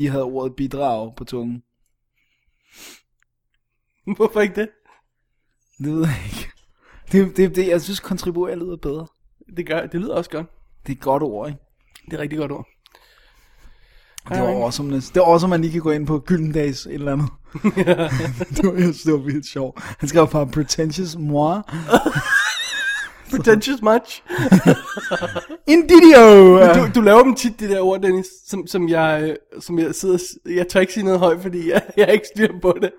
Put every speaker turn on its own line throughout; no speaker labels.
I havde ordet bidrag på tungen.
Hvorfor ikke det?
Det ved jeg ikke. Det, det, det, jeg synes, kontribuer lyder bedre.
Det, gør, det lyder også godt.
Det er et godt ord, ikke?
Det er et rigtig godt ord.
Det var awesomeness. Det er også, man lige kan gå ind på Gyldendags et eller andet. det var, jeg synes, det var vildt sjovt. Han skrev bare pretentious moi.
Pretentious much.
Indidio!
Du, du laver dem tit, de der ord, Dennis, som, som, jeg, øh, som jeg sidder... og s- Jeg tør ikke sige noget højt, fordi jeg, jeg har ikke styr på det.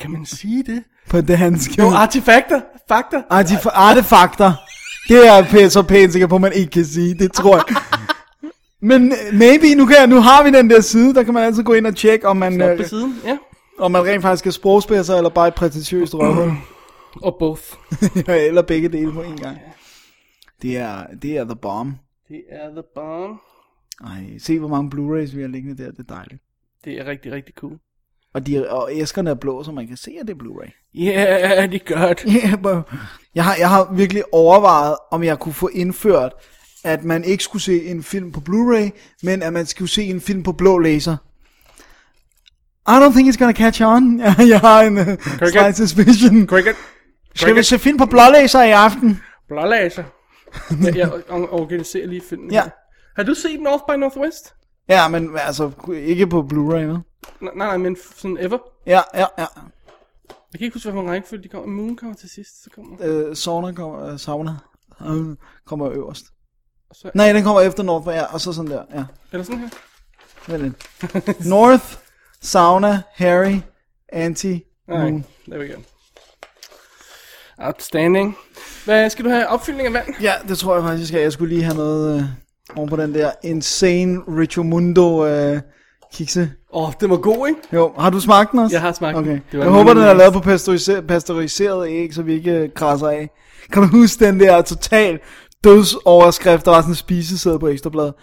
Kan man sige det? Ah,
På dansk.
Jo, artefakter. Fakter.
Artif- artefakter. Det er jeg pæ- så pænt sikker på, man ikke kan sige. Det tror jeg. Men øh, maybe, nu, kan jeg, nu har vi den der side, der kan man altid gå ind og tjekke, om man,
Op på
øh,
siden, ja.
om man rent faktisk er sprogspidser, eller bare et prætentiøst røvhul.
Og both.
eller begge dele på en gang. Det er, det er the bomb.
Det er the bomb.
Ej, se hvor mange Blu-rays vi har liggende der, det er dejligt.
Det er rigtig, rigtig cool.
Og, de, og æskerne er blå, så man kan se, at det er Blu-ray.
Yeah, det er godt.
Ja, bro. Jeg har, jeg har virkelig overvejet, om jeg kunne få indført, at man ikke skulle se en film på Blu-ray, men at man skulle se en film på blå laser. I don't think it's gonna catch on. jeg har en uh, slight suspicion.
Cricket.
Skal vi se film på blå laser i aften?
Blålaser. jeg, jeg or- organiserer lige filmen.
Ja.
her. Har du set North by Northwest?
Ja, men altså, ikke på Blu-ray, vel?
Nej, nej, nej, men f- sådan ever.
Ja, ja, ja.
Jeg kan ikke huske, hvad for en rækkefølge de kommer. Moon kommer til sidst, så kommer...
Øh, sauna kommer, øh, sauna øh, kommer øverst.
Og så,
Nej, den kommer efter North, ja, og så sådan der, ja.
Eller sådan her.
Vent lidt. North, sauna, Harry, Mm. anti,
Nej,
moon.
there we go. Outstanding. Hvad skal du have? Opfyldning af vand?
Ja, det tror jeg faktisk, jeg skal. Jeg skulle lige have noget øh, oven på den der insane Richo Mundo øh, kikse.
Åh, oh, den var god, ikke?
Jo, har du smagt den også?
Jeg har smagt den.
okay.
Det
den.
var
Jeg håber,
nemlig-
den er lavet på pasteuriser- pasteuriseret æg, så vi ikke øh, krasser af. Kan du huske den der total dødsoverskrift, der var sådan en spisesæde på Ekstrabladet?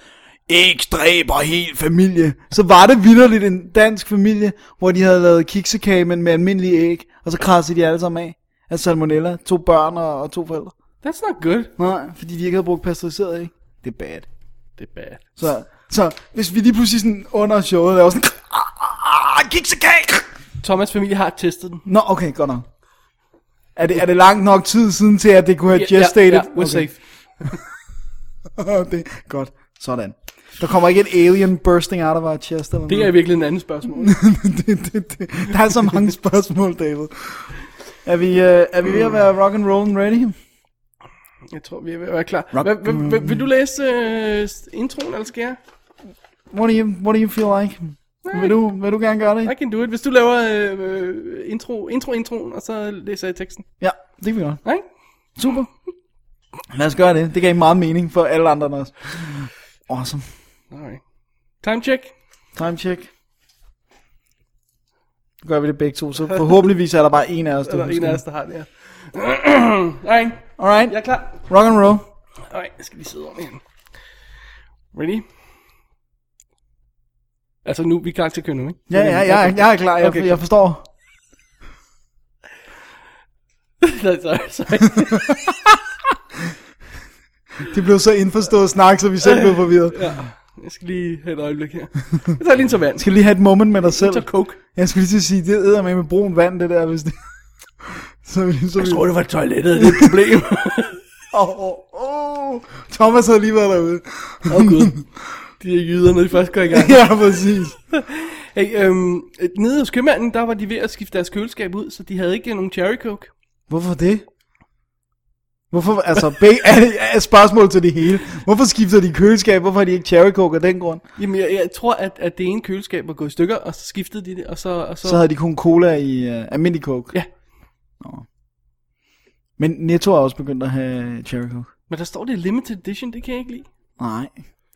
Æg dræber helt familie. Så var det vidderligt en dansk familie, hvor de havde lavet kiksekage, men med almindelige æg, og så krassede de alle sammen af. Af salmonella, to børn og, og to forældre.
That's not good.
Nej, fordi de ikke havde brugt pasteuriseret æg. Det er bad.
Det er bad.
Så, så hvis vi lige pludselig sådan under showet laver sådan... "Ah, Kiksekage!
Thomas' familie har testet den.
Nå, okay, godt nok. Er det, er det langt nok tid siden til, at det kunne have gestated?
Ja, we're safe.
okay. det, godt, sådan. Der kommer ikke et alien bursting out of our chest eller
Det er
noget.
virkelig en anden spørgsmål.
Mm. det, det, det. Der er så mange spørgsmål, David. Er vi, øh, er vi ved at være rock and roll ready?
Jeg tror, vi er ved at være klar.
Rock-
Hva, hva, hva, vil du læse øh, s- introen, eller skal jeg?
What do you, what do you feel like? Vil du, vil du gerne gøre det?
I can do it. Hvis du laver øh, øh, intro, intro, introen, og så læser jeg teksten.
Ja, det kan vi godt.
Nej?
Super. Lad os gøre det. Det gav meget mening for alle andre end os. Awesome.
Alright. Time check.
Time check. Nu gør vi det begge to, så forhåbentligvis er der bare en af os, der
Eller en
husker
af
det.
os, der har det her. Alright,
Alright,
jeg er klar.
rock and roll.
Alright, jeg skal lige sidde om igen. Ready? Altså nu, vi er klar til at køre nu, ikke?
Ja, ja, ja, jeg, jeg er klar, jeg,
Okay.
okay. jeg forstår.
Nej, sorry, sorry.
Det blev så indforstået snak, så vi selv blev forvirret. Jeg
Ja. Jeg skal lige have et øjeblik her. Jeg tager lige en tår vand.
skal lige have et moment med dig
Jeg
selv.
tager coke.
Jeg skulle lige til at sige, det æder med med brun vand, det der, hvis det... Så vi så vi...
Jeg tror, det var toilettet, det er et problem.
Åh, oh, oh. Thomas havde lige været derude.
Åh oh, gud. De er jyder, når de først går i gang.
ja, præcis.
Hey, øhm, nede hos købmanden, der var de ved at skifte deres køleskab ud, så de havde ikke nogen cherry coke.
Hvorfor det? Hvorfor, altså, beg- er, er spørgsmål til det hele. Hvorfor skifter de køleskab? Hvorfor har de ikke cherry coke af den grund?
Jamen, jeg, jeg tror, at, at det ene køleskab var gået i stykker, og så skiftede de det, og så... Og så,
Så havde de kun cola i uh, almindelig coke.
Ja,
Men Netto har også begyndt at have cherry coke.
men der står det er limited edition, det kan jeg ikke lide.
Nej,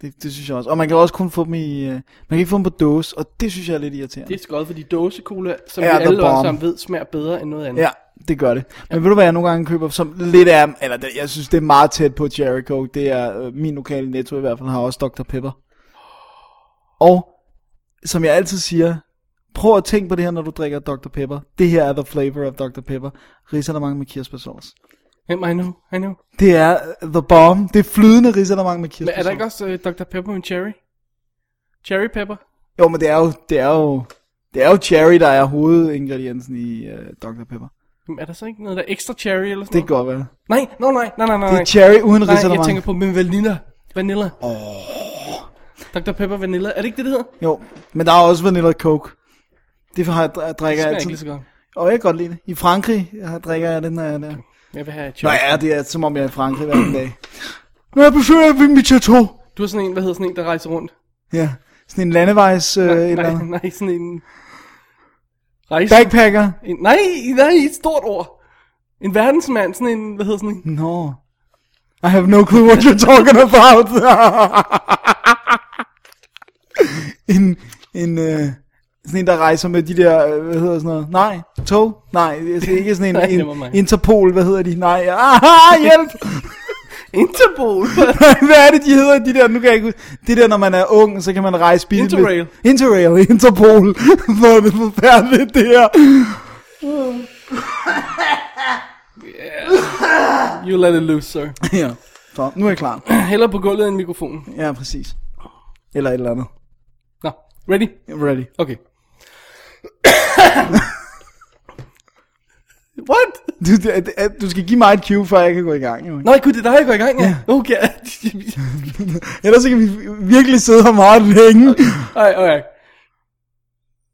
det, det synes jeg også. Og man kan også kun få dem i, uh, man kan ikke få dem på dåse, og det synes jeg er lidt irriterende.
Det er skødt, fordi dåsekola, som
Ja,
vi alle
the bomb.
sammen ved, smager bedre end noget andet.
Ja, det gør det. Men ved du hvad jeg nogle gange køber, som lidt er, eller det, jeg synes det er meget tæt på cherry coke, det er øh, min lokale netto i hvert fald, har også Dr. Pepper. Og som jeg altid siger, prøv at tænke på det her, når du drikker Dr. Pepper. Det her er the flavor of Dr. Pepper. Risalamande med kirsebærsauce.
Jamen, I know, I know.
Det er øh, the bomb. Det er flydende risalamande med
Men er der øh,
kirsebærsauce.
ikke også uh, Dr. Pepper med cherry? Cherry pepper?
Jo, men det er jo, det er jo, det er jo cherry, der er hovedingrediensen i uh, Dr. Pepper.
Jamen, Er der så ikke noget der er ekstra cherry eller sådan
Det kan godt være.
noget? Nej, no, nej, nej, nej, nej.
Det
nej.
er cherry uden
Nej, jeg
risalemang.
tænker på med vanilla. Vanilla. Oh. Dr. Pepper Vanilla. Er det ikke det, det hedder? Det
Jo, men der er også vanilla coke. Det har jeg, jeg drikker
smager
jeg
ikke lige så
altid.
godt.
Og jeg kan godt lide det. I Frankrig jeg drikker jeg den, når jeg er der.
Jeg vil have cherry.
Nå ja, det er som om jeg er i Frankrig hver dag. Når jeg besøger ved mit chateau.
Du er sådan en, hvad hedder sådan en, der rejser rundt?
Ja, sådan en landevejs... Øh, et eller
nej,
andet.
nej, sådan en... Rejse.
Backpacker.
En, nej, nej, et stort ord. En verdensmand, sådan en, hvad hedder sådan en...
No. I have no clue what you're talking about. en, en, øh, sådan en, der rejser med de der, øh, hvad hedder sådan noget? Nej, tog? Nej, altså ikke sådan
Nej,
en,
never
en
mind.
Interpol, hvad hedder de? Nej, ah, hjælp!
Interpol.
hvad er det, de hedder, de der, nu kan jeg ikke huske. Det der, når man er ung, så kan man rejse bil.
Interrail.
Med, Interrail, Interpol. Hvor er det forfærdeligt, det her.
you let it loose, sir.
ja, så nu er jeg klar.
Heller på gulvet end mikrofonen.
Ja, præcis. Eller et eller andet.
Nå, ready?
Ready.
Okay. What?
Du, det- det- du skal give mig et cue, før jeg kan gå i gang. Jo.
Nej, gud, det er dig, jeg går i gang, ja.
Ja.
Okay.
Ellers så kan vi virkelig sidde her meget længe.
Alright, alright.